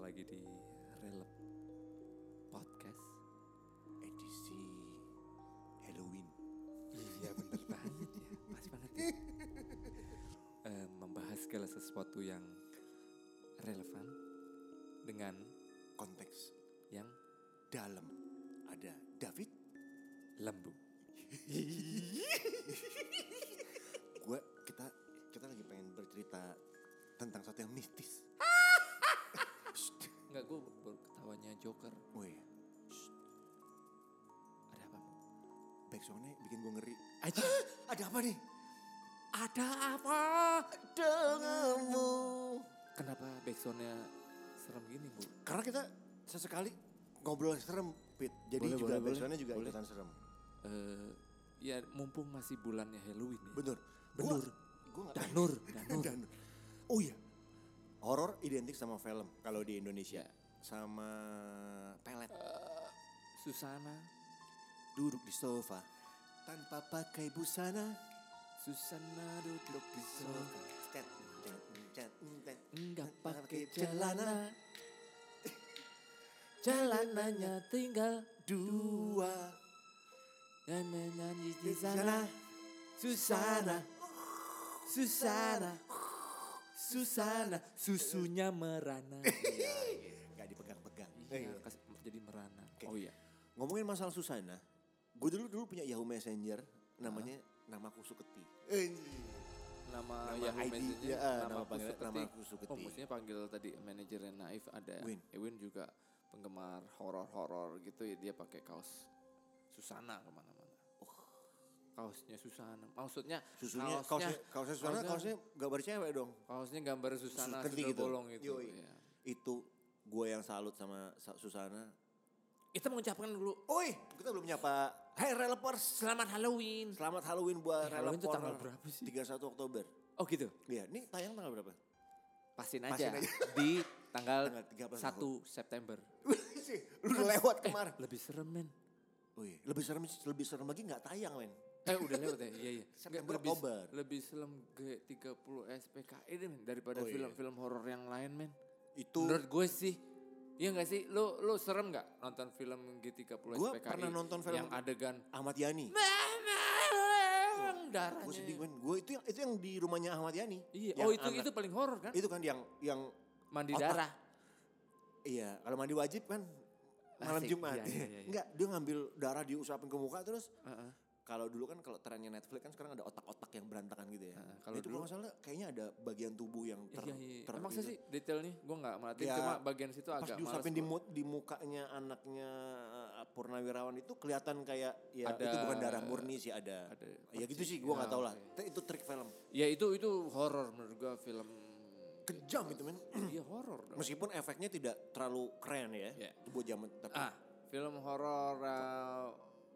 lagi di Relep Podcast edisi Halloween. Iya bener banget ya Pas banget ya Eh, Membahas segala sesuatu yang relevan Dengan Konteks yang dalam ada David, lembu gue kita kita lagi pengen bercerita tentang sesuatu yang mistis. Shh. Enggak gue baru ketawanya Joker Woi, Ada apa? back soundnya bikin gue ngeri. Aja Ada apa nih? Ada apa? Denganmu. Kenapa backsoundnya serem gini bu? Karena kita sesekali ngobrol serem, Pit. Jadi Boleh, juga boleh, back boleh. soundnya juga Boleh. ikutan serem. Eh, ya mumpung masih bulannya Halloween ya Bener. Benur. Gue nggak. Danur, Danur. Danur. Oh iya. Horor identik sama film kalau di Indonesia. Ya. Sama pelet. Susana Duduk di sofa tanpa pakai busana. Susana duduk di sofa Cet, cet, cet, cet. Enggak pakai celana Celananya tinggal dua Dua Dan menyanyi di sana. Susana Susana Susana Susunya merana Gak dipegang-pegang. Eh, Iya kas- jadi merana Oh iya Ngomongin masalah Susana, gue dulu dulu punya Yahoo Messenger, namanya nama aku Suketi. Eh, Nama, Nama yang ID, message ya, eh, nama panggilan- nama aku Suketi. Oh maksudnya panggil tadi manajernya Naif ada Win. Ewin juga penggemar horor-horor gitu ya dia pakai kaos Susana kemana-mana Kaosnya Susana Maksudnya Susunya kaosnya, kaosnya Susana, kaosnya gambar cewek dong. kaosnya gambar Susana Suketi sudah gitu. bolong gitu Yoi. ya. Itu gue yang salut sama Sa- Susana. Kita mengucapkan dulu Oi, kita belum nyapa. Hai Relepers, selamat Halloween selamat Halloween buat Eh, Halloween Relepers. itu tanggal berapa sih? 31 Oktober. Oh gitu Iya, ini tayang tanggal berapa? Pastiin Pastiin aja, aja. Di tanggal, Tanggal 13 1 September Sih, Lu lewat kemarin. Lebih serem men Woi, Eh, lebih serem lebih serem lagi nggak tayang, men. Eh udah lewat ya, iya iya. September, lebih, Oktober. Lebih serem G30 SPKI deh men daripada Oh, iya. film-film horor yang lain men. Itu Menurut gue sih, iya gak sih? Lu lu serem gak nonton film G30 Gua SPKI? pernah nonton film- yang adegan Ahmad Yani. Nah, darahnya. Gue sedih, men. Gue itu yang itu yang di rumahnya Ahmad Yani. Iya, Yang oh itu anak- Oh, itu paling horor kan? itu kan yang yang Mandi otak. darah. iya, kalau mandi wajib kan malam Asik, Jumat. iya, iya, iya. Enggak, dia ngambil darah diusapin ke muka terus Heeh. kalau dulu kan kalau trennya Netflix kan sekarang ada otak-otak yang berantakan gitu ya. Heeh, Nah, kalau kalau itu kalau nggak salah kayaknya ada bagian tubuh yang ter, iya, iya. ter- Emang sih itu. sih detailnya gue gak merhatiin Ya, cuma bagian situ Pas agak males. diusapin di, gua. mu- di mukanya anaknya eh, Purnawirawan itu kelihatan kayak ya Ada- itu bukan darah murni sih ada. ada ya gitu percis- sih gua nggak ya, tahu lah. oke. Te- Itu trik film. Ya itu itu horor menurut gue film. Kejam itu men. Iya horor dong. Meskipun efeknya tidak terlalu keren ya. Iya. Itu buat zaman tapi Ah, film horor uh,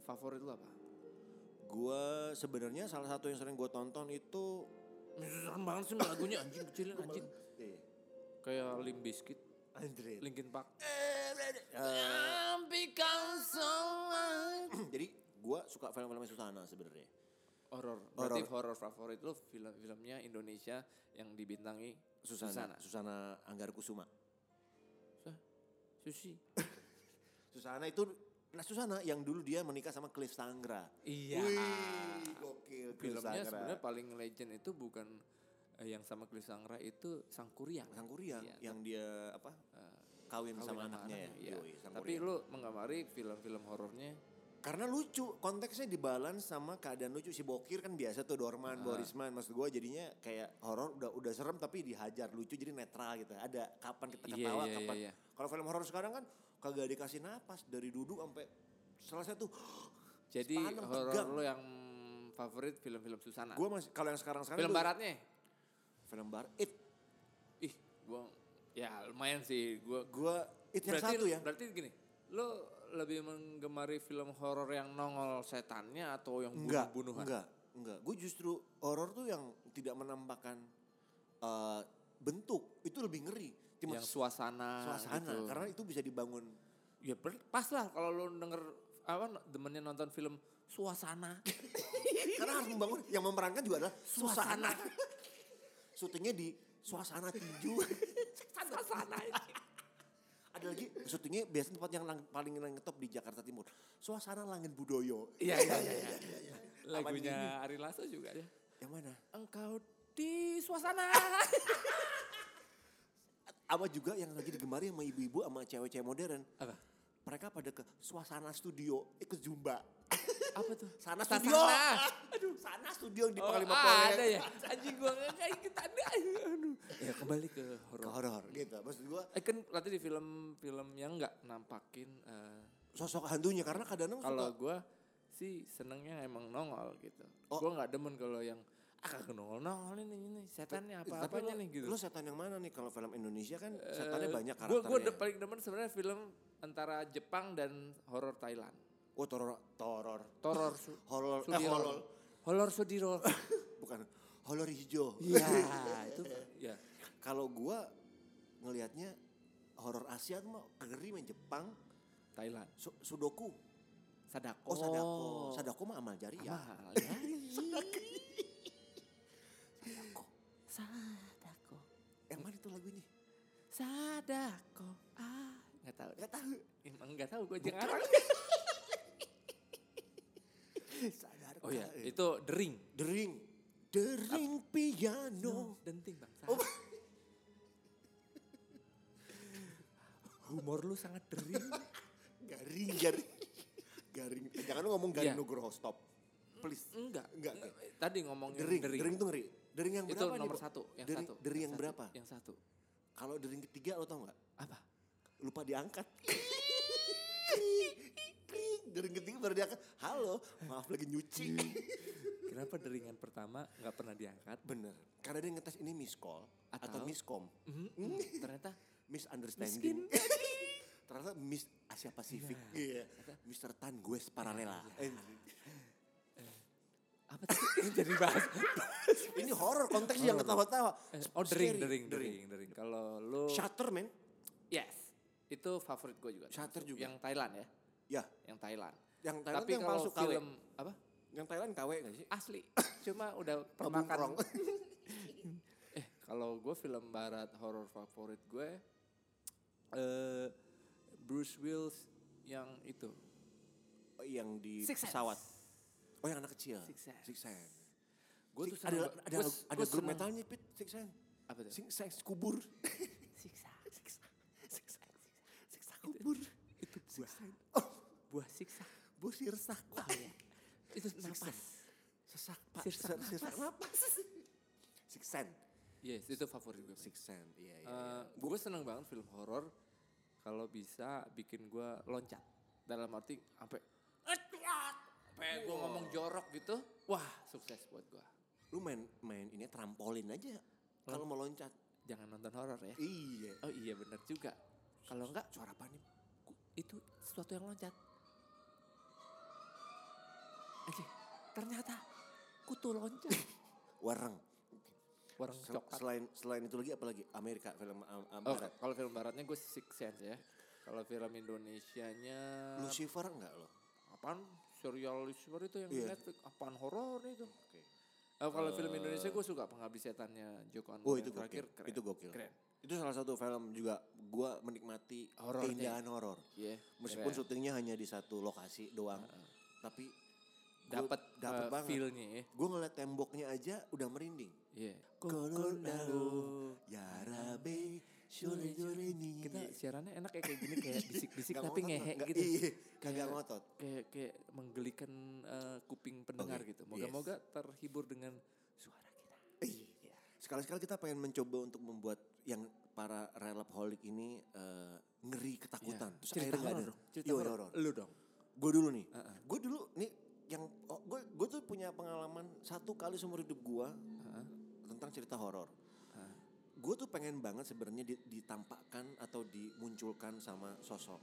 favorit lu apa? Gua sebenarnya salah satu yang sering gue tonton itu Serem banget sih lagunya anjing kecilin anjing. eh, Kayak Limp Bizkit, Andre. Linkin Park. Eh, Because someone. jadi gua suka film-filmnya Susana sebenarnya. Horor. Berarti horor favorit lu film-filmnya Indonesia yang dibintangi Susana. Susana, Anggar Kusuma. Susana. Susi. Susana itu nah Susana yang dulu dia menikah sama Cliff Sangra. Iya. Wih, gokil Cliff Filmnya Sangra. sebenarnya paling legend itu bukan eh, yang sama Chris Sangra itu Sangkuriang. Sang Kuriang Iya, yang dia apa? Kawin kawin, sama, anaknya, ya. iya. Yoi, Sang Tapi Kuriang. lu menggamari film-film horornya Karena lucu, konteksnya dibalans sama keadaan lucu si Bokir kan biasa tuh Ah. Dorman, Borisman, maksud gua jadinya kayak horor udah udah serem tapi dihajar lucu jadi netral gitu. Ada kapan kita Iya, ketawa, iya, iya, kapan. iya. Kalau film horor sekarang kan kagak dikasih napas dari duduk sampai selesai tuh. Jadi sepaneng, horor tegang. lo yang favorit film-film Susana. Gua masih kalau yang sekarang-sekarang film tuh- baratnya? film barat it Ih, gua ya lumayan sih gua gua it yang berarti, satu ya. Berarti gini, lo lebih menggemari film horor yang nongol setannya atau yang Enggak, bunuh-bunuhan? enggak, enggak. Gue justru horor tuh yang tidak menampakkan eh, bentuk itu lebih ngeri. Timas- Yang suasana, suasana gitu. karena itu bisa dibangun Ya ber- pas lah kalau lo denger apa demennya nonton film suasana. karena harus membangun yang memerankan juga adalah suasana syutingnya di suasana tinju suasana. ada lagi syutingnya biasanya tempat yang lang- paling ngetop di Jakarta Timur. Suasana Langit Budoyo. Iya iya iya. iya. Lagunya Ari Lasso juga ya. Yang mana? Engkau di suasana. Apa juga yang lagi digemari sama ibu-ibu sama cewek-cewek modern. Apa? Mereka pada ke suasana studio ikut zumba. Apa tuh? Sana Sasana. studio. Aduh, sana studio di Oh, Panglima ah, Proyek. ada ya. Anjing gua nggak kayak kita ada. Aduh. Ya kembali ke horor. Ke horor gitu. Maksud gua Eh kan berarti di film-film yang nggak nampakin eh, sosok hantunya karena kadang kalau gua sih senengnya emang nongol gitu. Oh. Gua nggak demen kalau yang ah kagak nongol nongol ini ini setannya apa apanya nih gitu. Eh, Eh, Lu setan yang mana nih kalau film Indonesia kan setannya banyak Gue karakternya. gue paling demen sebenarnya film antara Jepang dan horor Thailand. Oh, toror toror. Horor su- Horor eh, Sudiro. horor. Horor Sudiro. Bukan horor hijau. Iya, itu ya. kalau gua ngelihatnya horor Asia tuh mah ngeri main Jepang, Thailand. su- Sudoku. Sadako. Oh, Sadako. Sadako mah amal jariah. Mahal ya. Sadako. Sadako. Yang mana itu lagunya? Sadako. Ah, enggak tahu. Gak Ya tahu. Emang enggak tahu gue jangan. Sadar. Oh ya, itu The Ring. The Ring. The Ring Piano. denting bang. Oh. Humor lu sangat dering. Garing, garing. garing. Eh, Jangan lu ngomong Garing Iya. Nugroho stop. Please. Enggak. Eh, Enggak, Tadi ngomongin The Ring. The Ring tuh ngeri. The Ring yang Mm, itu berapa nih, nomor Bo? satu, yang The Ring- satu. The Ring yang satu, Iya. berapa? Yang satu. Kalau The Ring ketiga lo tau gak? Apa? lupa diangkat. Dari ketiga baru diangkat. Halo, maaf lagi nyuci. Iya. Kenapa deringan pertama nggak pernah diangkat? Bener. Karena dia ngetes ini miss call atau, Atau- miscom, Mhm, Ternyata misunderstanding. Ternyata Miss ah, Asia Pasifik. Iya. Mr. Tan gue paralela. Iya. apa sih jadi bahas? Eh, Ini horor konteksnya yang ketawa-tawa. Eh, Oh, dering, Scary. dering, dering, dering. Kalau lu Shutter, men. yes. Itu favorit gue juga. Shutter juga. Yang Thailand ya, Ya, yang Thailand. yang Thailand Tapi tuh yang kalau palsu ya? KW. film apa? Yang Thailand KW gak sih? Asli. Cuma udah Tabung permakan. kerong. Eh, kalau gue film barat horor favorit gue eh Bruce Willis yang itu. Oh, yang di Six Sense. pesawat. Oh, yang anak kecil. Six Sense. Six Sense. Gue tuh ada seneng ba- ada gua- ada gua grup seneng- Iya. metalnya Pit Six Sense. Apa tuh? Six Sense kubur. Siksa. Siksa. Siksa. Siksa. kubur. Itu buah. Oh, Buah siksa. bos sirsak. Pak. Iya. Itu Siksa. napas. Sesak, Pak. Sirsak Ser- Sirsak napas. Six Sense. Yes, itu favorit gue. Six Sense. Iya, iya. iya. Eh, gue seneng banget film horor kalau bisa bikin gue loncat. Dalam arti sampai sampai gue ngomong jorok gitu, wah sukses buat gue. Lu main main ini trampolin aja kalau mau loncat. Jangan nonton horor ya. Iya. Oh iya bener juga. Kalau enggak Suara apa nih? itu sesuatu yang loncat. Anjing, ternyata kutu loncat. Warang. Orang Sel- coklat. Selain selain itu lagi apa lagi? Amerika film Am- Am- Oh, Barat. kalau film baratnya gue Six Sense ya. Kalau film Indonesianya Lucifer enggak lo? apaan serial Lucifer itu yang di Iya. Netflix apaan horor itu. Eh, kalau film Indonesia gue suka penghabis setannya Joko Anwar Oh, yang itu terakhir gokil. keren. Itu gokil. Keren. Itu salah satu film juga gua menikmati Horornya. keindahan horor. Iya. Meskipun keren. syutingnya hanya di satu lokasi doang, tapi dapat dapat eh, banget. feel-nya ya. Gue ngeliat temboknya aja udah merinding. Iya. Koronalo, yarabe, sore sore Ya ini. kita siarannya enak ya kayak gini kayak bisik-bisik Iya. Nggak tapi ngotot, ngehe nggak- gitu Iya, kagak ngotot. kayak kayak menggelikan eh, kuping pendengar Oke, gitu moga-moga terhibur dengan suara kita Iya. Sekali-sekali kita pengen mencoba untuk membuat yang para relap holik ini eh, ngeri ketakutan. Terus Iya. cerita akhirnya nggak horor ada. dong cerita Yo, horor horor. lu dong Gue dulu nih. Gue dulu nih yang gue gue tuh punya pengalaman satu kali seumur hidup gue tentang cerita horor. Ah, Gue tuh pengen banget sebenarnya di- ditampakkan atau dimunculkan sama sosok.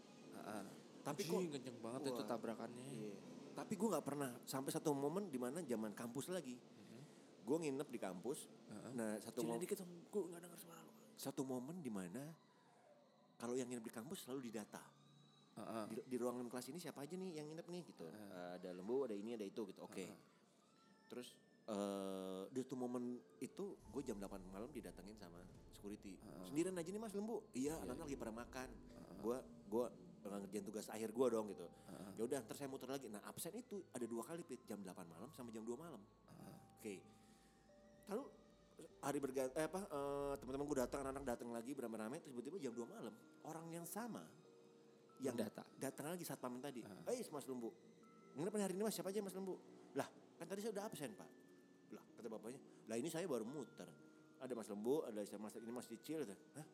Tapi tapi kok kok ah, kenceng banget itu Wah. tabrakannya Iya. Tapi gue nggak pernah sampai satu momen di mana zaman kampus lagi. Gue nginep di kampus. Nah satu Cuma momen dikit dong gue nggak dengar suara lu satu momen di mana kalau yang nginep di kampus selalu didata. Heeh. Di, di ruangan kelas ini siapa aja nih yang nginep nih gitu. Eh, ada lembu, ada ini, ada itu gitu. Oke. Terus eh di satu momen itu gue Iya. jam 8 malam didatengin sama security. Sendirian aja nih Mas lembu. Iya, anak-anak lagi pada makan. gue gue ngerjain tugas akhir gue dong gitu. Ya udah, ntar saya muter lagi. Nah absen itu ada dua kali pit jam 8 malam sama jam 2 malam. Oke. Lalu hari berganti eh, apa eh, teman-teman gue datang anak-anak datang lagi beramai-ramai terus tiba-tiba jam 2 malam orang yang sama yang Mendata. datang lagi saat pamit tadi. Eh Mas Lumbu, nginep hari ini Mas siapa aja Mas Lumbu? Lah kan tadi saya udah absen Pak. Lah kata bapaknya, lah ini saya baru muter. Ada Mas Lembu, ada Mas ini Mas Dicil. Kata, Hah?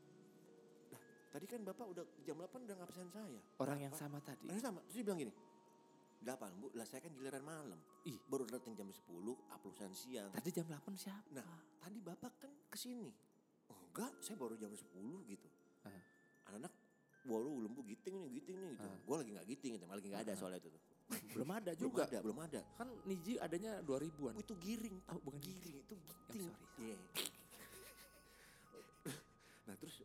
Lah tadi kan Bapak udah jam 8 udah ngabsen saya. Orang yang Pak, sama tadi. Orang yang sama. Terus dia bilang gini, 8 bu, lah saya kan giliran malam. Ih. Baru datang jam 10, uploadan siang. Tadi jam 8 siapa? Nah, tadi bapak kan kesini. Enggak, saya baru jam 10 gitu. Ah. Anak-anak baru lembu giting nih, giting nih gitu. Gua lagi nggak giting gitu, malah lagi nggak ada soalnya itu tuh. Belum ada Belum juga. ada, belum ada. Kan Niji adanya 2000-an. Oh, itu giring, Pak. Oh, bukan giring, itu giting. sorry, Iya. nah, terus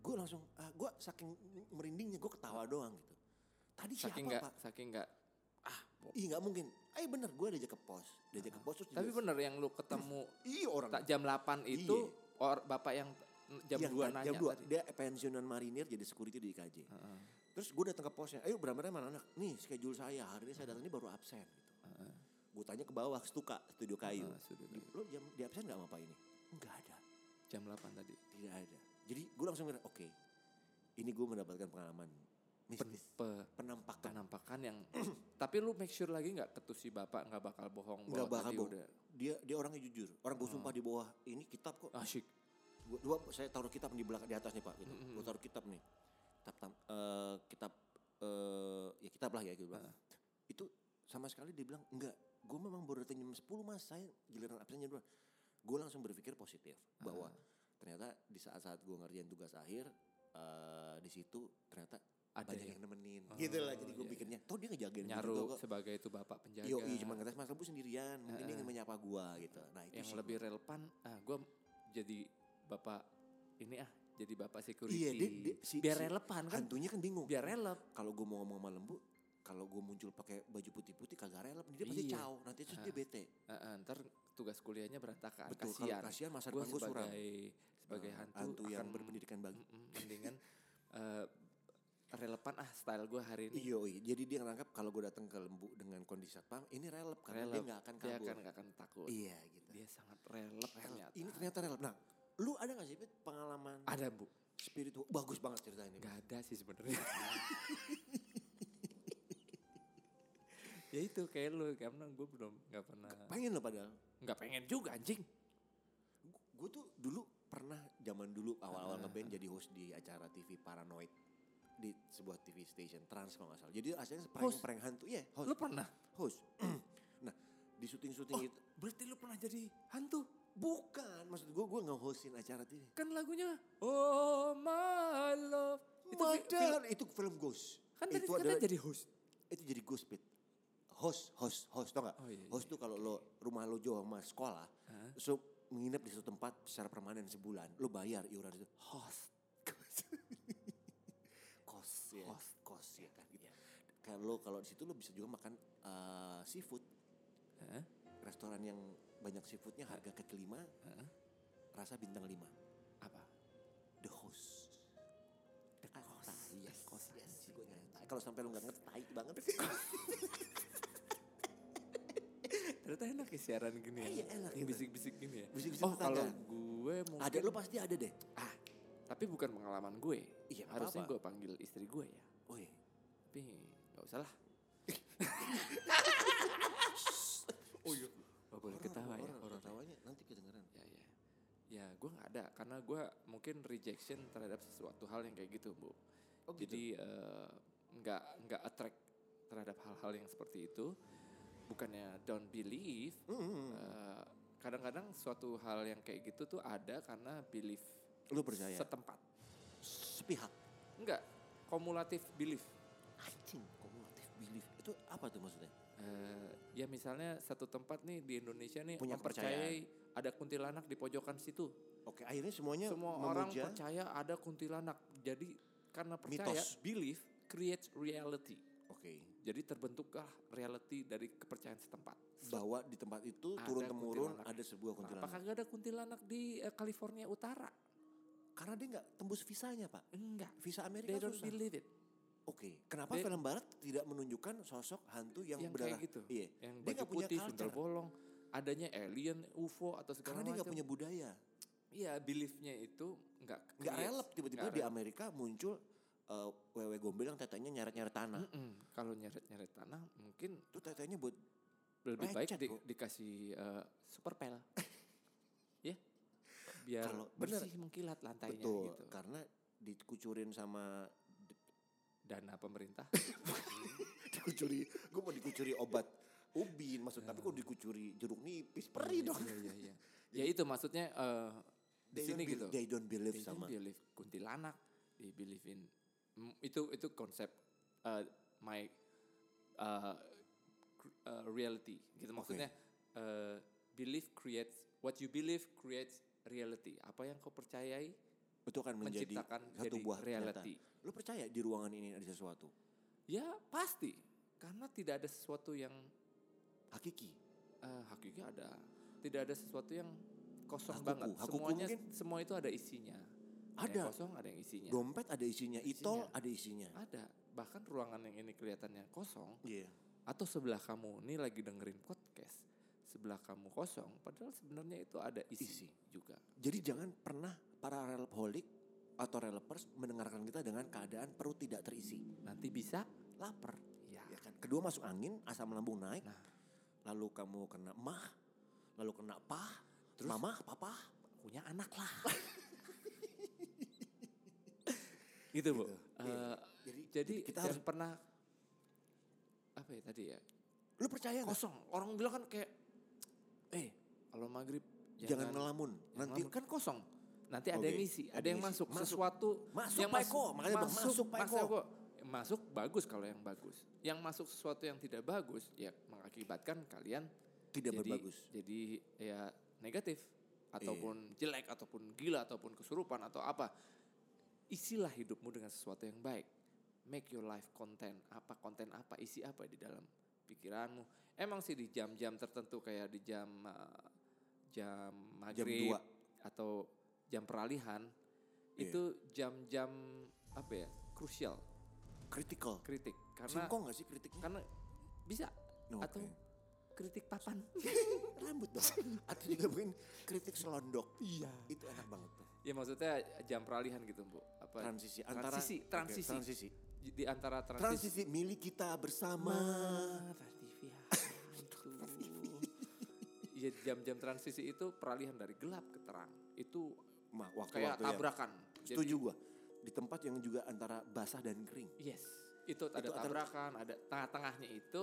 gue langsung, ah, gue saking merindingnya gue ketawa doang gitu. Tadi siapa, Saking nggak Pak? Iya. saking nggak. Ah, bo- Ih, nggak mungkin. Eh bener, gue diajak ke pos. Diajak ke pos terus tapi juga- bener yang lu ketemu Iya orang. tak jam 8 itu or bapak yang jam Yang 2 tadi- nanya Iya, jam dua. tadi. Dia pensiunan marinir jadi security di IKJ. Heeh. Terus gue datang ke posnya, ayo beramai-ramai anak-anak. Nih schedule saya, hari ini saya datang ini baru absen. Gitu. Heeh. Gue tanya ke bawah, ke Stuka, studio kayu. Heeh, studio kayu. Lo jam di absen gak sama Pak ini? Enggak ada, Jam 8 tadi. tidak ada. Jadi gue langsung bilang, oke. ini gue mendapatkan pengalaman mistis. Pe- penampakan. penampakan yang tapi lu make sure lagi nggak ketus si bapak nggak bakal bohong Nggak bahwa bakal tadi bohong. udah Dia dia orangnya jujur. Orang gue sumpah di bawah, ini kitab kok. asyik Gua, dua, saya taruh kitab di belakang di atas nih Pak. Gitu. Gue taruh kitab nih. Kitab, tam- eh, kitab eh, ya kitab lah ya gitu. Bang. Itu sama sekali dia bilang enggak. Gue memang baru datang jam 10 mas. Saya giliran absennya dua. Gue langsung berpikir positif bahwa ternyata di saat-saat gue ngerjain tugas akhir eh, di situ ternyata Ada banyak yang- yang nemenin. gitu lah jadi gue iya, pikirnya. Toh dia ngejagain gue juga nyaru kok. sebagai itu bapak penjaga Yo, iya, cuma ngetes Mas Lebu sendirian. Mungkin dia ingin menyapa gue gitu. Nah, itu yang sih lebih relevan ah gue jadi bapak ini ah jadi bapak security Iya, dia, dia- si- biar si relevan kan Hantunya kan bingung. biar relep kalau gue mau ngomong sama lembu kalau gue muncul pakai baju putih-putih kagak rela dia pasti Iya. caw nanti terus dia bete Ah, ah, ntar tugas kuliahnya berantakan Betul, kalau kasihan kasihan masa Gua depan gua suram. sebagai sebagai Nah, hantu, hantu yang akan berpendidikan bagi mm, mendingan eh, relevan ah style gue hari ini Iya, iya. jadi dia ngerangkap kalau gue datang ke lembu dengan kondisi satpam ini relep karena dia relep nggak akan dia kabur. akan nggak akan takut Iya gitu. dia sangat relep Relep. ternyata Ini ternyata relep. Nah, lu ada gak sih Pit, pengalaman ada bu spiritual? Bagus banget cerita ini. nggak ada sih sebenarnya ya itu kayak lu karena gue belum nggak pernah Pengen lo padahal. nggak pengen juga anjing Gue tuh dulu pernah zaman dulu Ah. awal-awal ngeband jadi host di acara TV Paranoid di sebuah TV station trans kalau nggak salah. Jadi aslinya Host? prank-prank hantu. Iya, host. lu pernah host. nah, di syuting-syuting oh itu berarti lu pernah jadi hantu bukan maksud gue gue nge-hostin acara TV. kan lagunya oh my love itu fi- film- Mother itu film Ghost. kan tadi itu katanya adalah- jadi host itu jadi Ghost Pit. Host, host, host tau gak? Oh, iya, host tuh kalau lo rumah lo jauh sama sekolah, so menginap di suatu tempat secara permanen sebulan, lo bayar iuran itu. host Kos ya. Kos, kos ya kan gitu. Iya. Kayak lo kalau di situ lo bisa juga makan eh, seafood. Hah? Restoran yang banyak seafoodnya harga kaki lima, rasa bintang lima. apa The host. The host. Yes, host. Yes, gue ngerti. Kalau sampai lu gak ngerti, tai banget. ternyata enak ya siaran gini ya Iya, enak, yang enak. bisik-bisik gini ya Bisik-bisik oh kalau tetangga. gue mungkin ada, lu pasti ada deh. ah tapi bukan pengalaman gue Iya, nggak harusnya apa-apa. gue panggil istri gue ya Oh iya. tapi nggak usah lah Oh iya. Gak boleh ketawa ya horor ya. Ketawanya nanti kedengeran. ya ya ya gue nggak ada karena gue mungkin rejection terhadap sesuatu hal yang kayak gitu bu Oh, gitu. jadi eh, nggak nggak attract terhadap hal-hal yang seperti itu bukannya don't believe Hmm, eh, kadang-kadang suatu hal yang kayak gitu tuh ada karena belief Lu percaya? setempat Sepihak. enggak kumulatif belief Anjing, kumulatif belief. Itu apa tuh maksudnya? Eh, ya misalnya satu tempat nih di Indonesia nih Punya mempercayai ada kuntilanak di pojokan situ Oke, akhirnya semuanya Semua orang memuja. percaya ada kuntilanak. Jadi karena percaya, Mitos. belief creates reality. Oke. Jadi terbentuklah reality dari kepercayaan setempat. Nah, Bahwa di tempat itu Ada turun temurun kuntilanak. ada sebuah Apakah kuntilanak. gak ada kuntilanak di eh, California Utara? Karena dia nggak tembus visanya pak. Enggak. Visa Amerika They don't susah. believe it. Oke, kenapa They- film Barat tidak menunjukkan sosok hantu yang, Yang berdarah? kayak gitu. Iya. Yang Dia baju nggak punya putih, sundel culture. bolong. Adanya alien, UFO atau Karena segala dia macam. nggak punya budaya. Iya, beliefnya itu enggak. Nggak create. relep tiba-tiba Iya. Nggak di relep. Amerika muncul eh, wewe gombel yang tetenya nyeret-nyeret tanah. Mm-mm. Kalau nyeret-nyeret tanah mungkin Itu tetenya buat lebih baik Lecet, di- Bu. dikasih eh, super pel. ya. Biar Kalau- bener. bersih mengkilat lantainya betul. gitu. Karena dikucurin sama Dana pemerintah. dikucuri. Gue mau dikucuri obat ubin maksud tapi kok dikucuri jeruk nipis perih Iya, dong. Iya, iya, iya. ya itu maksudnya eh, di They sini don't be- gitu. They don't believe They sama. don't believe kuntilanak, they believe in Mm, itu itu konsep uh, my uh, cr- uh, reality gitu maksudnya uh, belief creates what you believe creates reality. Apa yang kau percayai Itu akan menjadi menciptakan satu jadi buah reality. nyata. Lu percaya di ruangan ini ada sesuatu Ya pasti karena tidak ada sesuatu yang hakiki? eh hakiki ada tidak ada sesuatu yang kosong Hakuku. banget. Hakuku Semuanya mungkin? semua itu ada isinya. yang Ada. kosong, ada yang isinya. Dompet ada isinya, Ya. Isinya. itol Ah. ada isinya. Ada. Bahkan ruangan yang ini kelihatannya kosong Iya. atau sebelah kamu ini lagi dengerin podcast, sebelah kamu kosong padahal sebenarnya itu ada isi, Isi. juga. Jadi jangan pernah para relapholik atau relapers mendengarkan kita dengan keadaan perut tidak terisi, Nanti bisa lapar. ya. Ya kan? Kedua masuk angin, asam lambung naik. Nah. Lalu kamu kena mah, lalu kena pah, Terus? mama, papa. punya anak lah. gitu, Bu. Gitu. Eh, Iya. Jadi, jadi kita kita harus jangan pernah apa ya tadi ya? lu percaya nggak? Kosong. Orang bilang kan kayak eh kalau maghrib Jangan, ngelamun. jangan Nanti ngelamun. kan kosong. Nanti ada Oke, yang ngisi, ada, ada yang yang masuk, ngisi. Masuk. sesuatu Masuk, Pak Eko. Makanya bilang, masuk, Pak Eko. Eko. Eh, Masuk bagus kalau yang bagus. Yang masuk sesuatu yang tidak bagus ya mengakibatkan kalian tidak jadi berbagus. Iya. jadi ya negatif ataupun jelek ataupun gila ataupun kesurupan atau apa. Isilah hidupmu dengan sesuatu yang baik. Make your life content. Apa konten apa isi apa di dalam pikiranmu. Emang sih di jam-jam tertentu kayak di jam eh, jam maghrib dua. atau jam peralihan Iya. itu jam-jam apa ya krusial Critical. kritik karena Singkong gak sih kritiknya? karena bisa No, atau oke. kritik papan Rambut dong. Atau juga mungkin kritik selondok. iya Itu enak banget tuh. ya maksudnya jam peralihan gitu bu apa Transisi antara transisi Oke, transisi, transisi. Di- di antara transisi Transisi milik kita bersama. Transivia, itu ya jam-jam transisi itu peralihan dari gelap ke terang itu Ma, waktu kayak waktu yang- tabrakan Jadi- Setuju gua. Di tempat yang juga antara basah dan kering. Yes, itu ada Itu antara- tabrakan, ada tengah-tengahnya itu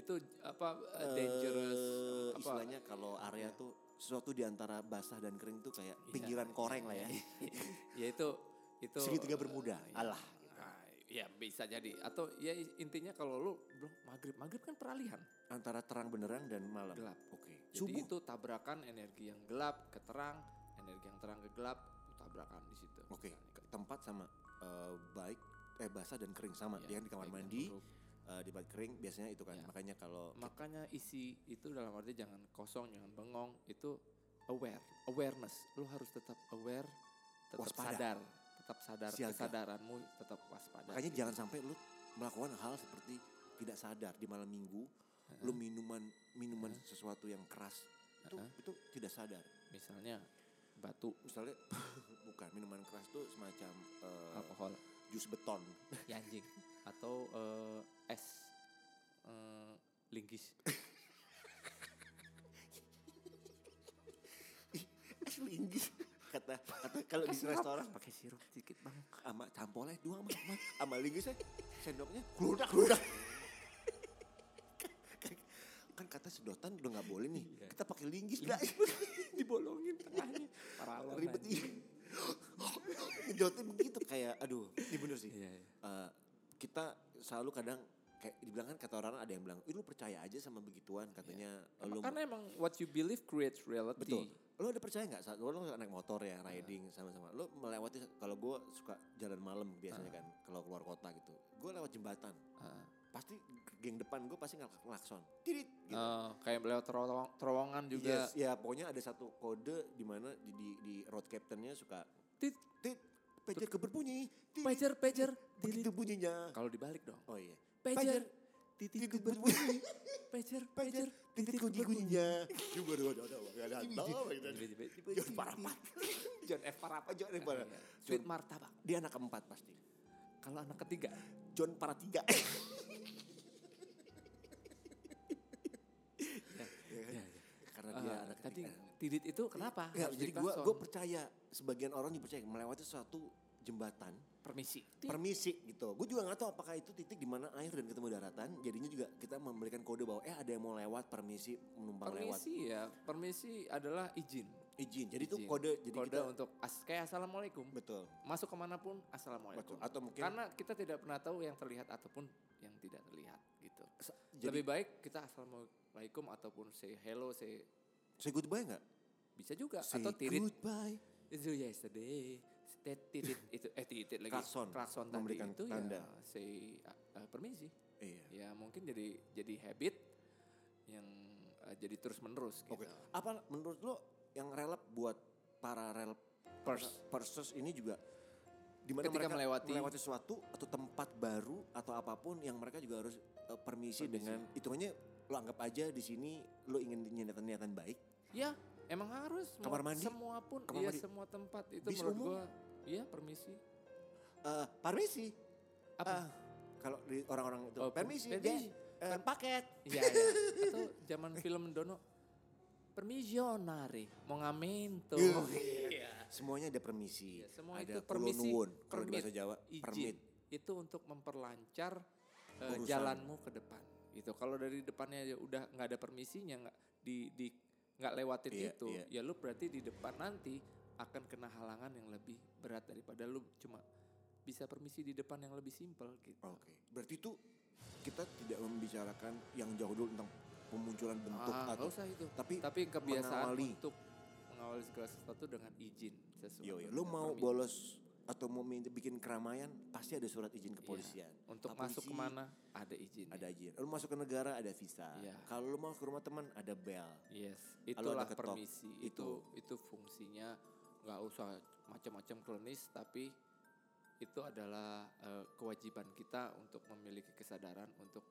itu apa uh, dangerous Eh, apa istilahnya kalau area tuh sesuatu di antara basah dan kering tuh kayak Iya, pinggiran iya, koreng lah ya. iya. ya itu itu Segitiga eh, bermuda. ya. Allah. Nah, ya bisa jadi atau ya i- intinya kalau lu belum maghrib maghrib kan peralihan Antara terang benderang dan malam. Gelap. Oke. jadi Subuh. itu tabrakan energi yang gelap ke terang energi yang terang ke gelap itu tabrakan di situ Oke. Misalnya. ke- Tempat sama eh, baik eh basah dan kering sama. Ya, Dia kan di kamar baik dan mandi, buruk. eh, di bak kering biasanya itu kan. Ya. Makanya kalau makanya isi itu dalam arti jangan kosong jangan bengong itu aware awareness lu harus tetap aware tetap Waspada. sadar tetap sadar Siaga. kesadaranmu tetap waspada Makanya jangan sampai lu melakukan hal seperti tidak sadar di malam minggu, lu minuman minuman sesuatu yang keras itu itu tidak sadar. misalnya batu Misalnya bukan minuman keras tuh semacam eh, alkohol jus beton, ya anjing atau eh, es eh, linggis es linggis kata kata kalau di restoran pakai sirup sedikit bang sama campolnya dua sama sama, sama linggisnya sendoknya keludak keludak. kan kata sedotan udah nggak boleh nih. Iya. Kita pakai linggis dah. dibolongin tengahnya paralon ribet anjing. iya. Ngedotin begitu kayak aduh ini bener sih Iya, iya. Eh, kita selalu kadang kayak dibilang kan kata orang ada yang bilang "Ih, lu percaya aja sama begituan katanya Iya. Emang- kan lu karena emang what you believe creates reality betul lu ada percaya nggak saat lu lu naik motor ya riding sama-sama lu melewati kalau gue suka jalan malam biasanya kan kalau keluar kota gitu gue lewat jembatan Ah. pasti geng depan gue pasti ngelak- ngelakson tirit gitu. Eh, kayak lewat terowong- terowongan juga Yes, ya pokoknya ada satu kode di mana di, di, di road captainnya suka Tit. tit Pager keber bunyi. Tit, Pager, pager. Begitu bunyinya. Kalau dibalik dong. Oh iya. Pager. Titik keber bunyi. Pager, pager. Pager. Titik kunci kuncinya. Coba dua dua dua. Gak ada apa John Parapat. John F. Parapat. John F. Parapat. Sweet Ah, iya. martabak. Dia anak keempat pasti. Kalau anak ketiga, John Paratiga. ya, kan? Karena dia eh, anak tadi ketiga. Didit itu kenapa? Ya, Harus jadi jadi gue klakson? gue percaya sebagian orang dipercaya melewati suatu jembatan permisi. permisi gitu. Gue juga nggak tahu apakah itu titik di mana air dan ketemu daratan. Jadinya juga kita memberikan kode bahwa eh ada yang mau lewat permisi menumpang lewat Permisi ya, permisi adalah izin. izin. Jadi itu Izin. kode jadi Kode kita untuk as, kayak assalamualaikum. betul Masuk kemanapun assalamualaikum. betul atau mungkin Karena kita tidak pernah tahu yang terlihat ataupun yang tidak terlihat gitu. sa- jadi Lebih baik kita assalamualaikum ataupun say hello, say say goodbye nggak? bisa juga Say atau tirit goodbye. itu yesterday. Tet- Titit itu eh titit lagi Klakson. klakson tadi Memberikan itu tanda. ya say uh, uh, permisi. Iya. Ya mungkin jadi jadi habit yang uh, jadi terus menerus gitu. Oke. Apa menurut lo yang relap buat para relap Pers. persus ini juga di mana Ketika mereka melewati- melewati suatu atau tempat baru atau apapun yang mereka juga harus eh, Permisi. permisi, dengan hitungannya lo anggap aja di sini lo ingin niatan niatan baik Ya, emang harus. Mau Kamar mandi? Semua pun, Kamar iya mandi? semua tempat itu Bis menurut umum? gua. Iya, permisi. Eh, permisi Apa? Ah, kalau di orang-orang itu Oh, permisi, permisi. Jen. Eh, paket Iya, iya. Atau zaman film Dono, permisionari, mau ngamento. Iya. semuanya ada permisi Iya, semua ada itu permisi, kulon nuwun, kalau di permit, bahasa Jawa Izin. permit Itu untuk memperlancar eh, Urusan. jalanmu ke depan. Gitu. Kalau dari depannya ya udah nggak ada permisinya, nggak di di nggak lewatin Iya, itu, iya. ya lu berarti di depan nanti akan kena halangan yang lebih berat daripada lu cuma bisa permisi di depan yang lebih simpel gitu. Oke, berarti itu kita tidak membicarakan yang jauh dulu tentang pemunculan bentuk Ah, nggak atau usah itu. tapi Tapi kebiasaan mengawali. untuk mengawali segala sesuatu dengan izin sesuatu. yo, yo, lo dan mau permisi. bolos atau mau min- bikin keramaian pasti ada surat izin kepolisian. Iya, untuk Apa masuk sih? kemana ada izin. Ada izin. Lo masuk ke negara ada visa. Iya. Kalau lo mau ke rumah teman ada bel. Yes, Kalau itulah ada ketok, permisi. itu. Itu itu fungsinya nggak usah macam-macam klinis tapi itu adalah eh, kewajiban kita untuk memiliki kesadaran untuk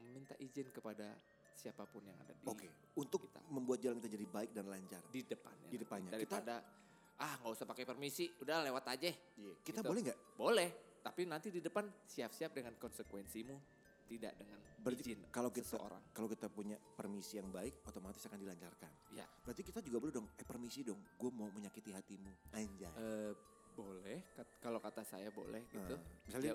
meminta izin kepada siapapun yang ada di Oke, untuk kita. membuat jalan kita jadi baik dan lancar. di depannya. Di depannya. Kita- Daripada ah nggak usah pakai permisi, udah lewat aja. Iya. Kita Gitu. boleh nggak? Boleh, tapi nanti di depan siap-siap dengan konsekuensimu, tidak dengan Berarti izin kalau kita seseorang. kalau kita punya permisi yang baik, otomatis akan dilancarkan. Ya, Berarti kita juga boleh dong. Eh permisi dong, gue mau menyakiti hatimu. Anjay. eh, boleh. kat- kalau kata saya boleh gitu. Eh, misalnya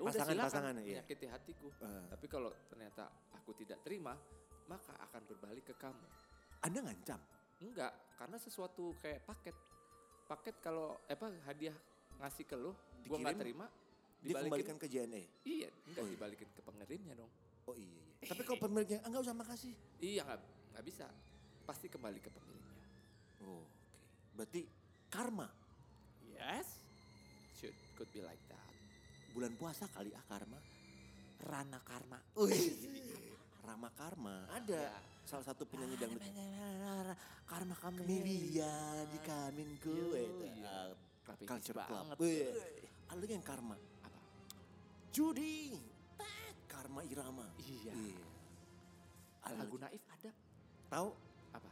ya udah silakan pasangan-pasangan ya. menyakiti hatiku. Eh. Tapi kalau ternyata aku tidak terima, maka akan berbalik ke kamu. Anda ngancam. Enggak, karena sesuatu kayak paket. Paket kalau eh, apa hadiah ngasih ke lu, gua nggak Dikirim, terima, Dia dibalikin. kembalikan ke JNE. Iya, enggak Oh, iya. dibalikin ke pengirimnya dong. Oh iya iya. Tapi kalau pemiliknya enggak usah makasih. Iya, nggak nggak bisa. Pasti kembali ke pengirimnya. Oh, oke. Berarti karma Yes. Should could be like that. bulan puasa kali ah karma. Rana karma. Rama karma. Ada Ya. salah satu penyanyi dangdut. Karma kamu. Iya. Milia di kamin gue. itu, ah, Culture Club. Wih. Ada lagi yang karma. Apa? Judi. Tak, Karma irama. Iya. Ada Lagu lagi. Naif ada Tahu? apa?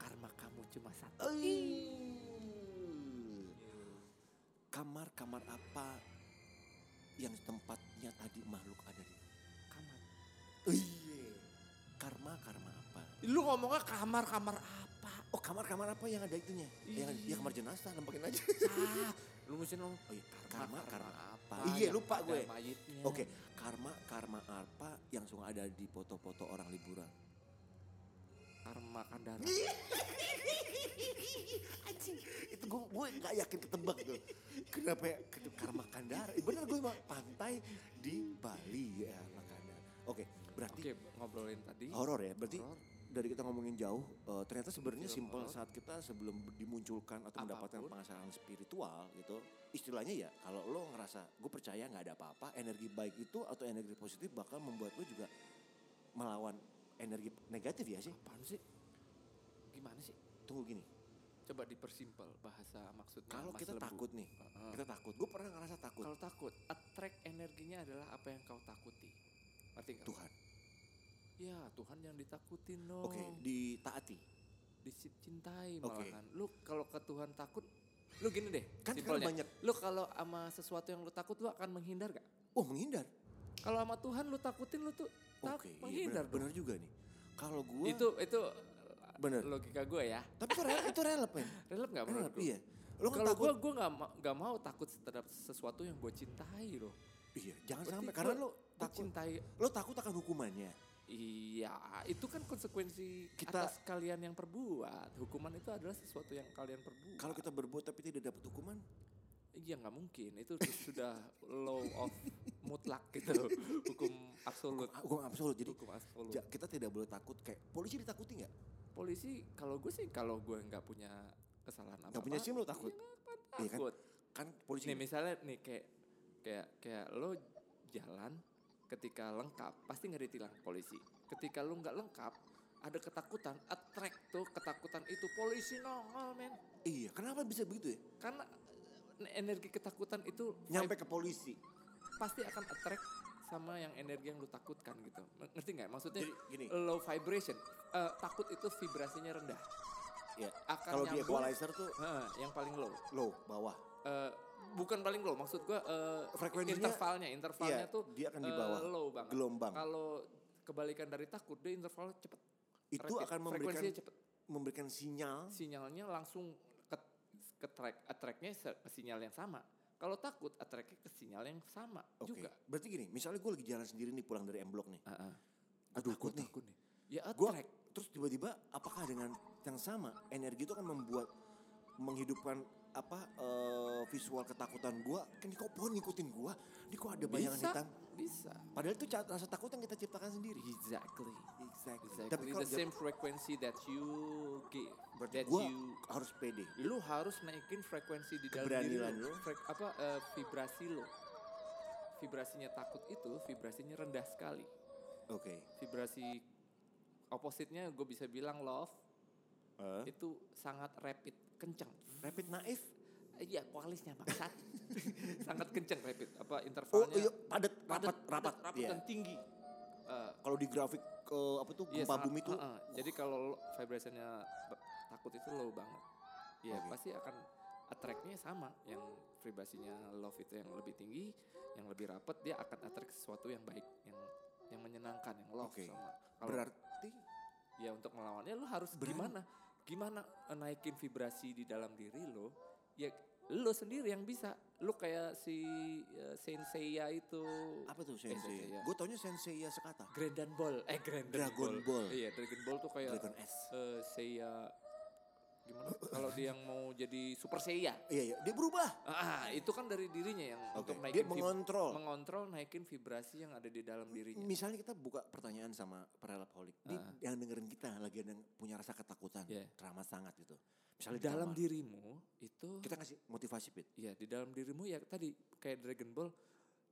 Karma kamu cuma satu. Ih. Kamar-kamar apa yang tempatnya tadi makhluk ada di Kamar. Iya. Karma karma apa? Lu ngomongnya kamar-kamar apa? Oh kamar kamar apa yang ada itunya? Iya. Yang ya kamar jenazah nampakin aja. Ah, lu mesti ngomong Oh iya, karma karma. apa? Iya, yang lupa ada gue. Mayitnya. Oke, karma karma apa yang suka ada di foto-foto orang liburan? Karma kandara. Anjing, itu gue gue nggak yakin ketebak tuh. Kenapa ya? Ke- Karma Kandara. Bener gue emang pantai di Bali ya karma Kandara. Oke, berarti Oke, ngobrolin tadi. horor ya. Berarti Horor. dari kita ngomongin jauh, eh, ternyata sebenarnya Film simpel horor. saat kita sebelum dimunculkan atau mendapatkan Apapun. pengasaran spiritual gitu. Istilahnya ya, kalau lo ngerasa gue percaya nggak ada apa-apa, energi baik itu atau energi positif bakal membuat lo juga melawan energi negatif ya sih. Apaan sih? Gimana sih? Tunggu gini, Coba dipersimpel bahasa maksudnya. Kalau Mas kita Lembu. takut nih, Heeh. kita takut. Gue pernah ngerasa takut. Kalau takut, attract energinya adalah apa yang kau takuti. Ngerti nggak? Tuhan. Ya Tuhan yang ditakutin dong. Oke, ditaati. Dicintai Oke. malahan. Lu kalau ke Tuhan takut, lu gini deh. Kan sekarang simpelnya. banyak. Lu kalau sama sesuatu yang lu takut, lu akan menghindar gak? Oh menghindar. Kalau sama Tuhan lu takutin, lu tuh tak Oke, iya menghindar dong. benar, benar juga nih. Kalau gue, Itu itu Bener. logika gue ya. tapi itu rel, itu relevan. Relap gak menurut Relep, lu? iya. Lo kan Kalau takut. gue gue nggak ma- nggak mau takut terhadap sesuatu yang gue cintai loh. Iya, jangan Berarti sampai karena gua- lo Gua takut. cintai. Lo takut akan hukumannya. Iya, itu kan konsekuensi Kita- atas kalian yang perbuat. Hukuman itu adalah sesuatu yang kalian perbuat. Kalau kita berbuat tapi tidak dapat hukuman, iya nggak mungkin, itu tu- sudah law of mutlak gitu. Hukum absolut. ah, hukum absolut. Jadi Hukum absolut. ja- kita tidak boleh takut kayak polisi ditakuti nggak? Polisi kalau gue sih kalau gue nggak punya kesalahan apa-apa. punya SIM lo takut? Iya, nggak apa- Iya kan? takut. Kan polisi Nih misalnya nih kayak kayak kayak lo jalan ketika lengkap pasti nggak ditilang polisi. Ketika lo nggak lengkap ada ketakutan, attract tuh ketakutan itu polisi nongol men. Iya, kenapa bisa begitu ya? Karena eh, energi ketakutan itu Nyampe ke polisi. vibe- pasti akan attract sama yang energi yang lo takutkan gitu. Ng- Ngerti nggak? Maksudnya Jadi gini. low vibration. Eh, takut itu vibrasinya rendah. Ya, Akan kalau di nyambung. equalizer tuh Heeh, yang paling low. low, bawah. Eh, bukan paling low maksud gua eh, Frekuensinya- intervalnya intervalnya iya, tuh dia akan di eh, bawah, low banget gelombang. kalau kebalikan dari takut dia intervalnya cepet Itu rapid. akan memberikan frekuensinya cepet memberikan sinyal sinyalnya langsung ke ke track attract-nya se- ke sinyal yang sama kalau takut attract-nya ke sinyal yang sama Oke. juga Berarti gini, misalnya gue lagi jalan sendiri nih pulang dari M Block nih. Heeh. Aduh, takut nih. takut nih ya Gue attract terus tiba-tiba apakah dengan yang sama energi itu kan membuat menghidupkan apa eh, visual ketakutan gue kan ini kok pohon ngikutin gue ini kok ada bayangan bisa hitam bisa padahal itu ca- rasa takut yang kita ciptakan sendiri exactly exactly, tapi exactly kalau the same frequency that you give berarti that gue you harus pede lu harus naikin frekuensi di dalam diri Keberanian lu, lu. Frek- apa eh, vibrasi lu. Vibrasinya takut itu vibrasinya rendah sekali. oke Vibrasi opositnya gue bisa bilang love Eh? itu sangat rapid, kencang. rapid naif Iya, kualisnya maksat. sangat kencang rapid. Apa oh intervalnya? iya padat rapat padat, kan. rapat padat, Iya. dan tinggi. Eh, kalau di grafik ke apa tuh iya, gempa sangat- bumi tuh heeh. Jadi kalau lo- vibrasinya ba- takut itu low banget. Ya Oke. pasti akan attract-nya sama. Yang vibrasinya love itu yang lebih tinggi, yang lebih rapat dia akan attract sesuatu yang baik, yang yang menyenangkan, yang love Oke. sama. Kalau berarti ya untuk melawannya lo harus Berani. gimana? Gimana eh, naikin vibrasi di dalam diri lo? Ya lo sendiri yang bisa. Lo kayak si eh, Sensei ya itu apa tuh sensei Sensei, ya. gue taunya sensei ya sekata Grandan Ball, eh Grandan Dragon Ball. Iya, Dragon Ball tuh kayak dragon s eh Seiya gimana kalau dia yang mau jadi Super Seiya iya iya dia berubah ah itu kan dari dirinya yang Oke, untuk naikin dia vib- mengontrol. mengontrol naikin vibrasi yang ada di dalam dirinya Misalnya kita buka pertanyaan sama perelapholik, di Ah. yang dengerin kita lagi ada yang punya rasa ketakutan, Iya. teramat sangat gitu. Misalnya di dalam kamar, dirimu itu kita kasih motivasi pit. ya di dalam dirimu ya tadi kayak Dragon Ball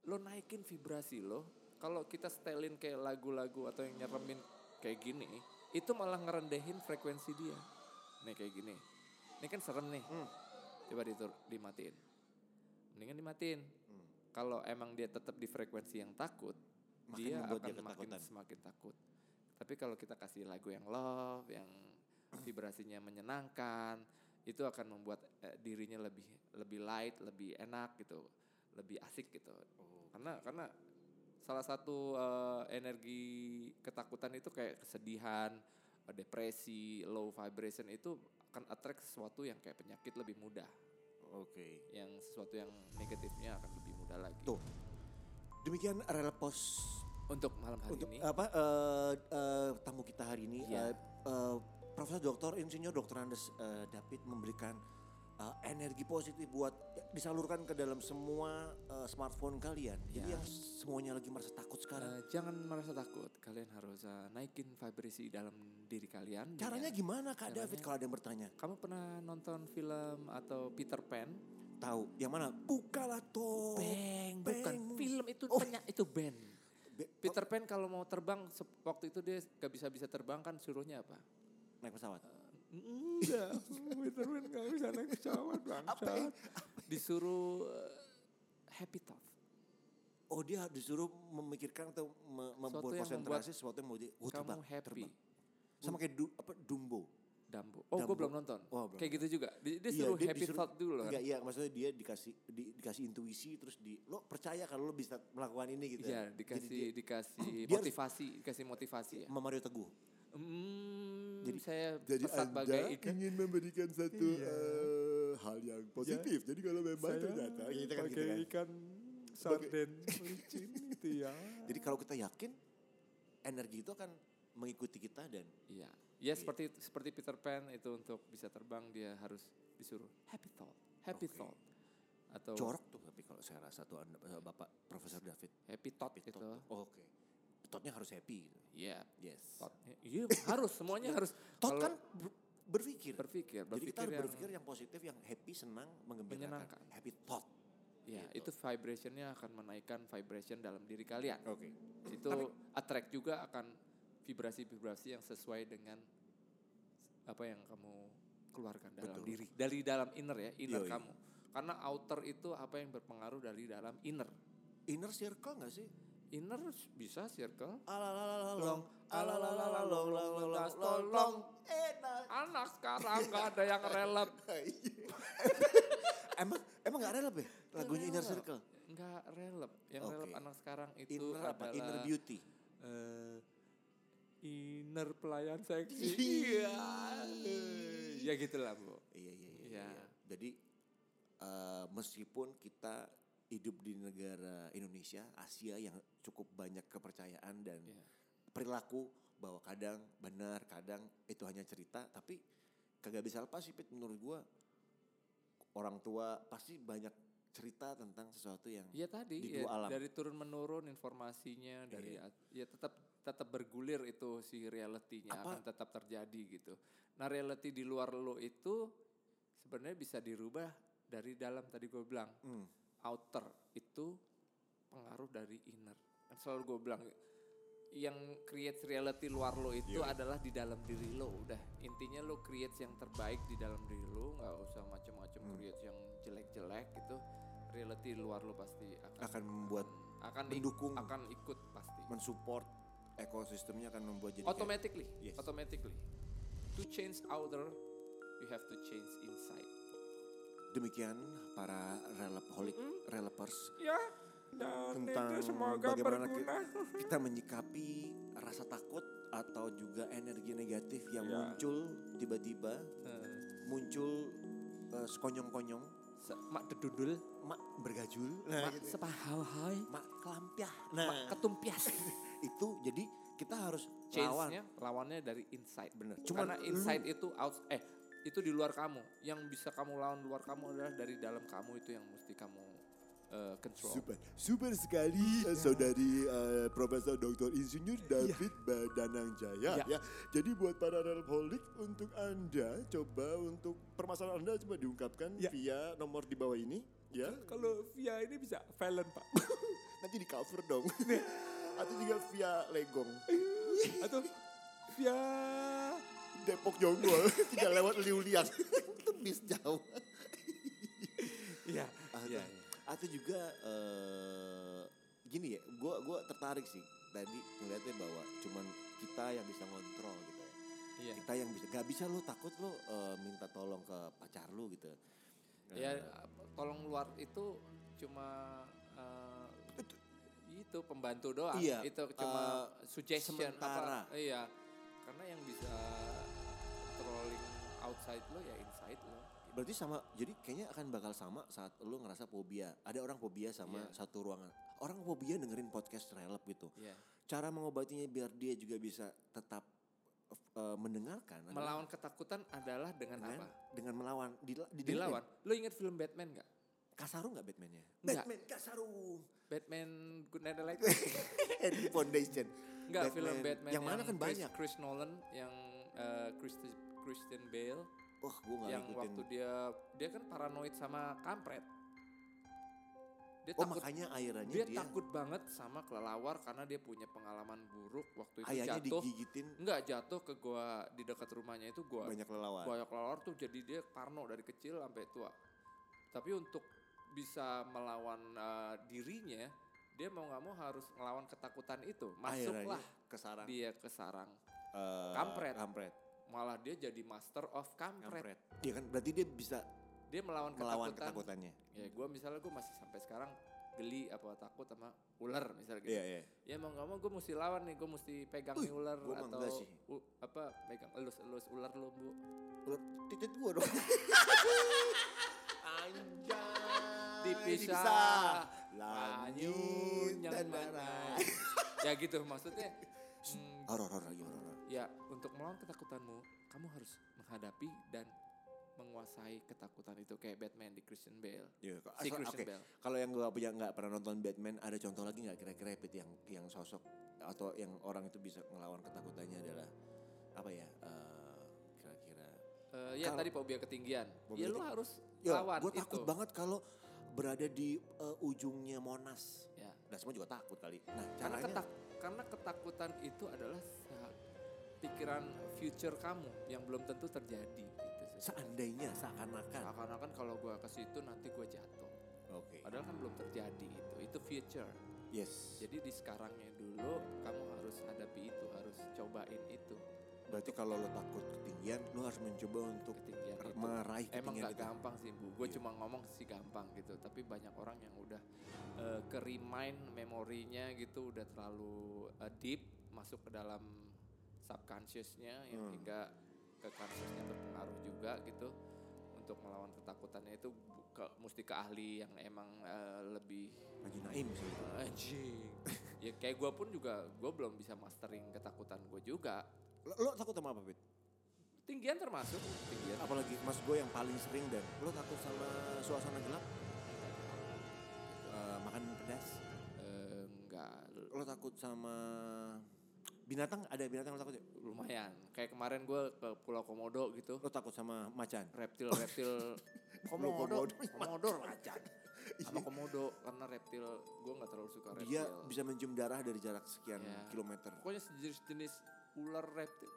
lo naikin vibrasi lo kalau kita setelin kayak lagu-lagu atau yang nyeremin kayak gini itu malah ngerendahin frekuensi dia nih kayak gini ini kan serem nih Hmm. coba ditur dimatiin mendingan dimatiin Hmm. kalau emang dia tetap di frekuensi yang takut Makin dia membuat akan dia makin ketakutan. semakin takut tapi kalau kita kasih lagu yang love yang vibrasinya menyenangkan itu akan membuat eh, dirinya lebih lebih light lebih enak gitu lebih asik gitu karena karena salah satu eh, energi ketakutan itu kayak kesedihan eh, depresi low vibration itu akan attract sesuatu yang kayak penyakit lebih mudah Oke. yang sesuatu yang negatifnya akan lebih mudah lagi. Tuh. Demikian relepos Untuk malam hari untuk ini apa eh, eh, tamu kita hari ini Iya. eh, eh, Profesor Dr. Insinyur Dr. Andes eh, David memberikan eh, energi positif buat ya, disalurkan ke dalam semua eh, smartphone kalian. Jadi Iya. yang semuanya lagi merasa takut sekarang. eh, jangan merasa takut. Kalian harus eh, naikin vibrasi dalam diri kalian. Iya. Caranya dengan- gimana Kak Caranya- David kalau ada yang bertanya? Kamu pernah nonton film atau Peter Pan? Tahu yang mana? Bukalah topeng. Bang, bukan bukan. film itu Oh. penya- itu band. Be- Peter Pan kalau mau terbang se- waktu itu dia gak bisa bisa terbang kan suruhnya apa? naik pesawat. Enggak, Witherwind gak bisa naik pesawat bangsa. Disuruh eh, happy thought. Oh dia disuruh memikirkan atau me- membuat yang konsentrasi sesuatu yang mau di oh, Kamu terbang, happy. terbang. sama kayak du- apa Dumbo. Dumbo. Oh, gue Dumbo. belum nonton. Oh, belum. Kayak gitu juga. Dia, dia Iya, suruh dia happy disuruh- thought dulu kan. Enggak, iya maksudnya dia dikasih di- dikasih intuisi terus di lo percaya kalau lo bisa melakukan ini gitu. Iya, Jadi dikasih dia- dikasih dia harus- motivasi, dikasih motivasi ya. sama Mario Teguh. Hmm, Jadi- saya pesat bagai Iya. ikan. ingin memberikan satu eh, hal yang Ya. positif. Jadi kalau memang ternyata gitu kan, gitu kan. ikan sarden licin gitu ya. Jadi kalau kita yakin energi itu akan mengikuti kita dan Iya. Ya seperti seperti Peter Pan itu untuk bisa terbang dia harus disuruh happy thought, happy Oke. thought atau corok tuh tapi kalau saya rasa tuh anda, eh, Bapak Profesor David happy thought Happy gitu. Thought. Oh, Oke. Totnya harus happy. gitu. Iya, Yes. thought. Iya, harus semuanya harus Tot Kalau kan ber- berpikir. berpikir, Jadi berpikir, kita harus yang- berpikir yang positif, yang happy, senang, menggembirakan. Menyenangkan. Happy thought. Iya, itu Gitu. vibrationnya akan menaikkan vibration dalam diri kalian. Oke. Itu attract juga akan vibrasi-vibrasi yang sesuai dengan apa yang kamu keluarkan dalam Betul. diri, dari dalam inner ya, inner Yoi. kamu. Karena outer itu apa yang berpengaruh dari dalam inner. Inner circle gak sih? Inner bisa circle, Alalalalong, alalalalong, long, long, long, long, long. Enak. anak sekarang nggak ada yang relap emang emang gak relap ya lagunya Inner relap. Circle? nggak relap yang Oke. relap anak sekarang itu Inner adalah apa? Inner Beauty. eh, inner pelayan seksi Iya. ya gitulah bu Iya iya iya. Iya. iya. Jadi eh, meskipun kita hidup di negara Indonesia, Asia yang cukup banyak kepercayaan dan Iya. perilaku bahwa kadang benar, kadang itu hanya cerita, tapi kagak bisa lepas sih Pit menurut gua orang tua pasti banyak cerita tentang sesuatu yang ya tadi Di ya, dua alam. Iya. dari turun menurun informasinya dari at- ya tetap tetap bergulir itu si realitinya Apa- akan tetap terjadi gitu nah reality di luar lo itu sebenarnya bisa dirubah dari dalam tadi gue bilang Hmm. outer itu pengaruh dari inner. Kan selalu gue bilang yang create reality luar lo itu Iya. adalah di dalam diri lo. Udah intinya lo create yang terbaik di dalam diri lo, nggak usah macam-macam Hmm. create yang jelek-jelek gitu. Reality luar lo pasti akan akan membuat akan ik- mendukung. akan ikut pasti. mensupport ekosistemnya akan membuat jadi kayak- Automatically, iya. Yes. automatically. To change outer, you have to change inside. demikian para relapholik, relapers Ya, dan tentang bagaimana ki- kita menyikapi rasa takut atau juga energi negatif yang Ya. muncul tiba-tiba Eh, muncul eh, sekonyong-konyong mak dedudul mak bergajul mak mak, sepahau-hai mak kelampiah mak nah ketumpias itu jadi kita harus lawan change-nya lawannya dari inside bener karena inside itu out eh itu di luar kamu yang bisa kamu lawan luar kamu adalah dari dalam kamu itu yang mesti kamu eh, control Super, super sekali Iya. eh, saudari eh, Profesor Dr. Insinyur David Badanang Jaya Ya. ya. Jadi buat para relholik untuk Anda coba untuk permasalahan Anda coba diungkapkan Ya. via nomor di bawah ini ya. kalau via ini bisa valen pak Nanti di cover dong. Atau juga via Legong atau via Depok Jonggol tidak lewat Liulian. bis jauh ya Ah, ya, tuh. atau juga eh, gini ya gua gua tertarik sih tadi ngeliatnya bahwa cuman kita yang bisa ngontrol gitu ya ya. kita yang bisa gak bisa lo takut lo eh, minta tolong ke pacar lo gitu Nah, ya Iya. tolong luar itu cuma eh, itu pembantu doang Iya, itu cuma suggestion sementara. apa iya karena yang bisa trolling outside lo ya inside lo berarti sama jadi kayaknya akan bakal sama saat lo ngerasa fobia ada orang fobia sama Iya. satu ruangan orang fobia dengerin podcast relap gitu Iya. cara mengobatinya biar dia juga bisa tetap eh, mendengarkan adalah melawan ketakutan adalah dengan dengan apa dengan melawan Dila- didengerin. dilawan lo inget film Batman nggak Kasaru nggak Batman-nya? Nggak. Batman Kasaru. Batman Good Night Electric Andy Foundation. nggak film Batman Yang mana kan Chris- banyak. Chris Nolan yang eh, Christi- Christian Bale Wah, gue nggak yang ngikutin. waktu dia dia kan paranoid sama kampret. Dia Dia Oh takut makanya airannya dia, dia, takut banget sama kelelawar karena dia punya pengalaman buruk waktu itu ayahnya jatuh. digigitin Enggak jatuh ke gua di dekat rumahnya itu gua banyak lelawar. buaya kelelawar tuh jadi dia parno dari kecil sampai tua. Tapi untuk bisa melawan eh, dirinya, dia mau nggak mau harus ngelawan ketakutan itu. Akhirnya Masuklah ke sarang dia ke sarang. eh, kampret. kampret. Malah dia jadi master of kampret. Kampret. Iya kan berarti dia bisa Dia melawan, melawan ketakutan. ketakutannya. Ya gue misalnya gue masih sampai sekarang geli apa takut sama ular misalnya gitu. Iya, iya. Ya mau nggak mau gue mesti lawan nih, gue mesti pegang nih Wih, ular gua mah atau enggak sih. Nah, u- apa pegang elus-elus ular lo bu. Ular titit gua dong. Anjay. Dipisah. Langit Lanjut dan darat. ya gitu maksudnya. mm, Horor horor lagi horor. horor. Ya, untuk melawan ketakutanmu, kamu harus menghadapi dan menguasai ketakutan itu kayak Batman di Christian Bale. Iya, Si asal- Christian oke. Bale. Kalau yang gua punya nggak pernah nonton Batman, ada contoh lagi nggak kira-kira Pit, yang yang sosok atau yang orang itu bisa ngelawan ketakutannya adalah apa ya? eh, Kira-kira. Eh, ya Kalau- tadi fobia ketinggian. Fobia ya lu ketinggian. harus ya, lawan gue itu. takut banget kalau berada di eh, ujungnya Monas. Ya. Nah semua juga takut kali. Nah Karena caranya ketak karena ketakutan itu adalah sa- pikiran future kamu yang belum tentu terjadi gitu sih. seandainya seakan-akan. Seakan-akan kalau gua ke situ nanti gua jatuh. Oke. Padahal kan belum terjadi itu. Itu future. Yes. Jadi di sekarangnya dulu kamu harus hadapi itu, harus cobain itu Berarti kalau lo takut ketinggian, lo harus mencoba untuk ketinggian itu. meraih Emang ketinggian nggak itu. gampang sih bu, gue Iya. cuma ngomong sih gampang gitu, tapi banyak orang yang udah eh, ke remind memorinya gitu udah terlalu eh, deep masuk ke dalam subconsciousnya yang Hmm. hingga ke consciousnya berpengaruh juga gitu untuk melawan ketakutannya itu bu- ke- mesti ke ahli yang emang eh, lebih Haji Naim sih. anjing. ya kayak gue pun juga gue belum bisa mastering ketakutan gue juga. Lo, lo takut sama apa, Pit? Tinggian termasuk, tinggian Apalagi mas gue yang paling sering dan lo takut sama suasana gelap? Eh, makan pedas? Eh, enggak Lo takut sama binatang? Ada binatang lo takut ya? lumayan kayak kemarin gue ke Pulau Komodo gitu Lo takut sama macan? reptil reptil komodo Komodo, komodo raja sama komodo karena reptil gue nggak terlalu suka reptil Dia bisa mencium darah dari jarak sekian Ya. kilometer. pokoknya sejenis jenis ular reptil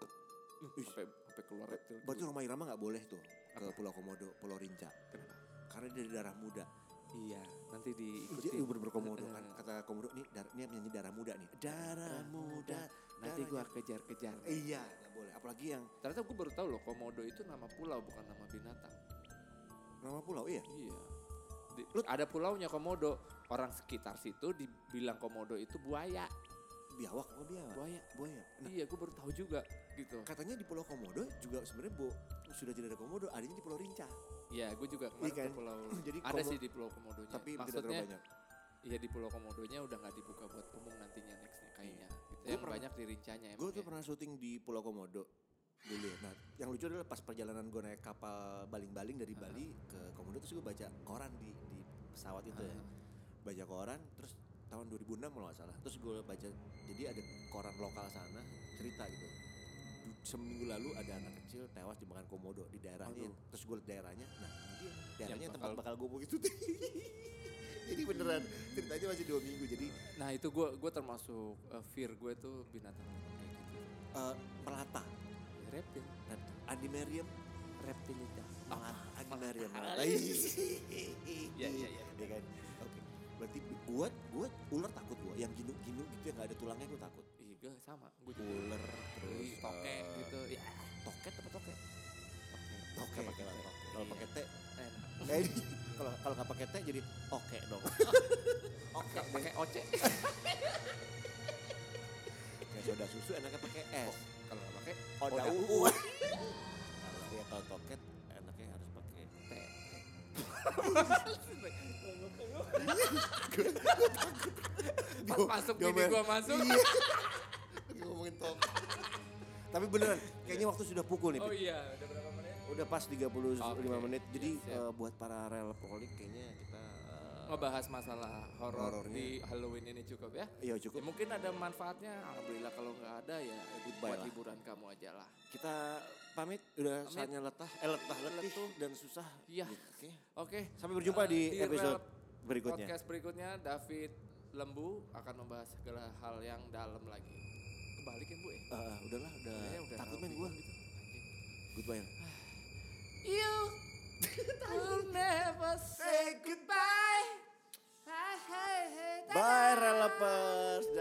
sampai sampai keluar reptil Berarti gitu. rumah Irama nggak boleh tuh ke Pulau Komodo, Pulau Rinca. Kenapa? Karena dia dari darah muda. iya nanti diikuti Dia uber berkomodo kan. Heeh. Kata komodo nih, dar, ini penyanyi darah muda nih. Darah muda. nanti gue darahnya- kejar kejar Iya, nggak boleh. Apalagi yang ternyata gue baru tahu loh komodo itu nama pulau bukan nama binatang nama pulau iya. iya Di- ada pulaunya komodo orang sekitar situ dibilang komodo itu buaya Biawak apa biawak? buaya Buaya. Nah, Iya, gue baru tahu juga gitu. katanya di Pulau Komodo juga sebenarnya bo, sudah tidak ada komodo, adanya di Pulau Rinca. Iya, gue juga kemarin Iya kan? ke Pulau. Jadi ada komo- sih di Pulau Komodonya. Tapi tidak terlalu Maksudnya, banyak. iya di Pulau Komodonya udah nggak dibuka buat umum nantinya nextnya kayaknya. Gitu. Iya. Gua Yang pernah- banyak di rincanya emang. Gue tuh ya. pernah syuting di Pulau Komodo dulu. ya. Nah, yang lucu adalah pas perjalanan gue naik kapal baling-baling dari Bali ke Komodo terus gue baca koran di di pesawat itu ya. Baca koran terus tahun 2006 kalau nggak salah. Terus gue baca jadi ada koran lokal sana cerita gitu. Du- Seminggu lalu ada anak kecil tewas dimakan komodo di daerahnya. Aduh. Terus gue liat daerahnya, nah ini dia daerahnya Yang tempat bakal- bakal gue mau itu. jadi beneran ceritanya masih dua minggu. Jadi Nah itu gue gue termasuk eh, fear gue tuh binatang kayak gitu. eh, melata, kan? Ya, Reptil, Andimerium reptilita. Malah Mariam Malah. Iya, iya, iya. Iya kan. Oke. Berarti gua gua ular takut gua. Yang ginu-ginu gitu yang gak ada tulangnya gua takut. Iya, gue sama. Gue juga. Ular Ih, terus Tokek eh, gitu. Ya, Toket apa toket? Toke Toket Iya. pakai pakai toke. nah, T. Kalau pakai T, Enak. eh, kalau kalau nggak pakai T jadi oke dong. Oke, pakai ocek. Kayak soda susu enaknya pakai S. Oh, Kalau nggak pakai Oda Oda uu. Kalau ya kalau toket enaknya harus pakai teh. Pas masuk Gua- bini gua- gue masuk. Lagi ngomongin toket. Tapi beneran, kayaknya waktu sudah pukul nih. Oh iya, udah berapa menit? Udah pas 35 Oke. menit. Jadi Yes, siap. eh, buat para rel prolik kayaknya kita eh, Ngebahas masalah horor Horornya. di Halloween ini cukup ya. Ya, Iya cukup. mungkin ada manfaatnya, alhamdulillah kalau nggak ada ya Goodbye buat lah. liburan kamu aja lah. Kita pamit udah Pamit. saatnya letah, eh letah letih dan susah. Iya. Oke. Oke, Sampai berjumpa eh, di Rel episode berikutnya. Podcast berikutnya David Lembu akan membahas segala hal yang dalam lagi. Kebalikin Bu ya. Eh, udahlah, udah, Kayaknya udah takut tahu main gue. gitu. Anjing. Goodbye. You will never say goodbye. Bye, relapers.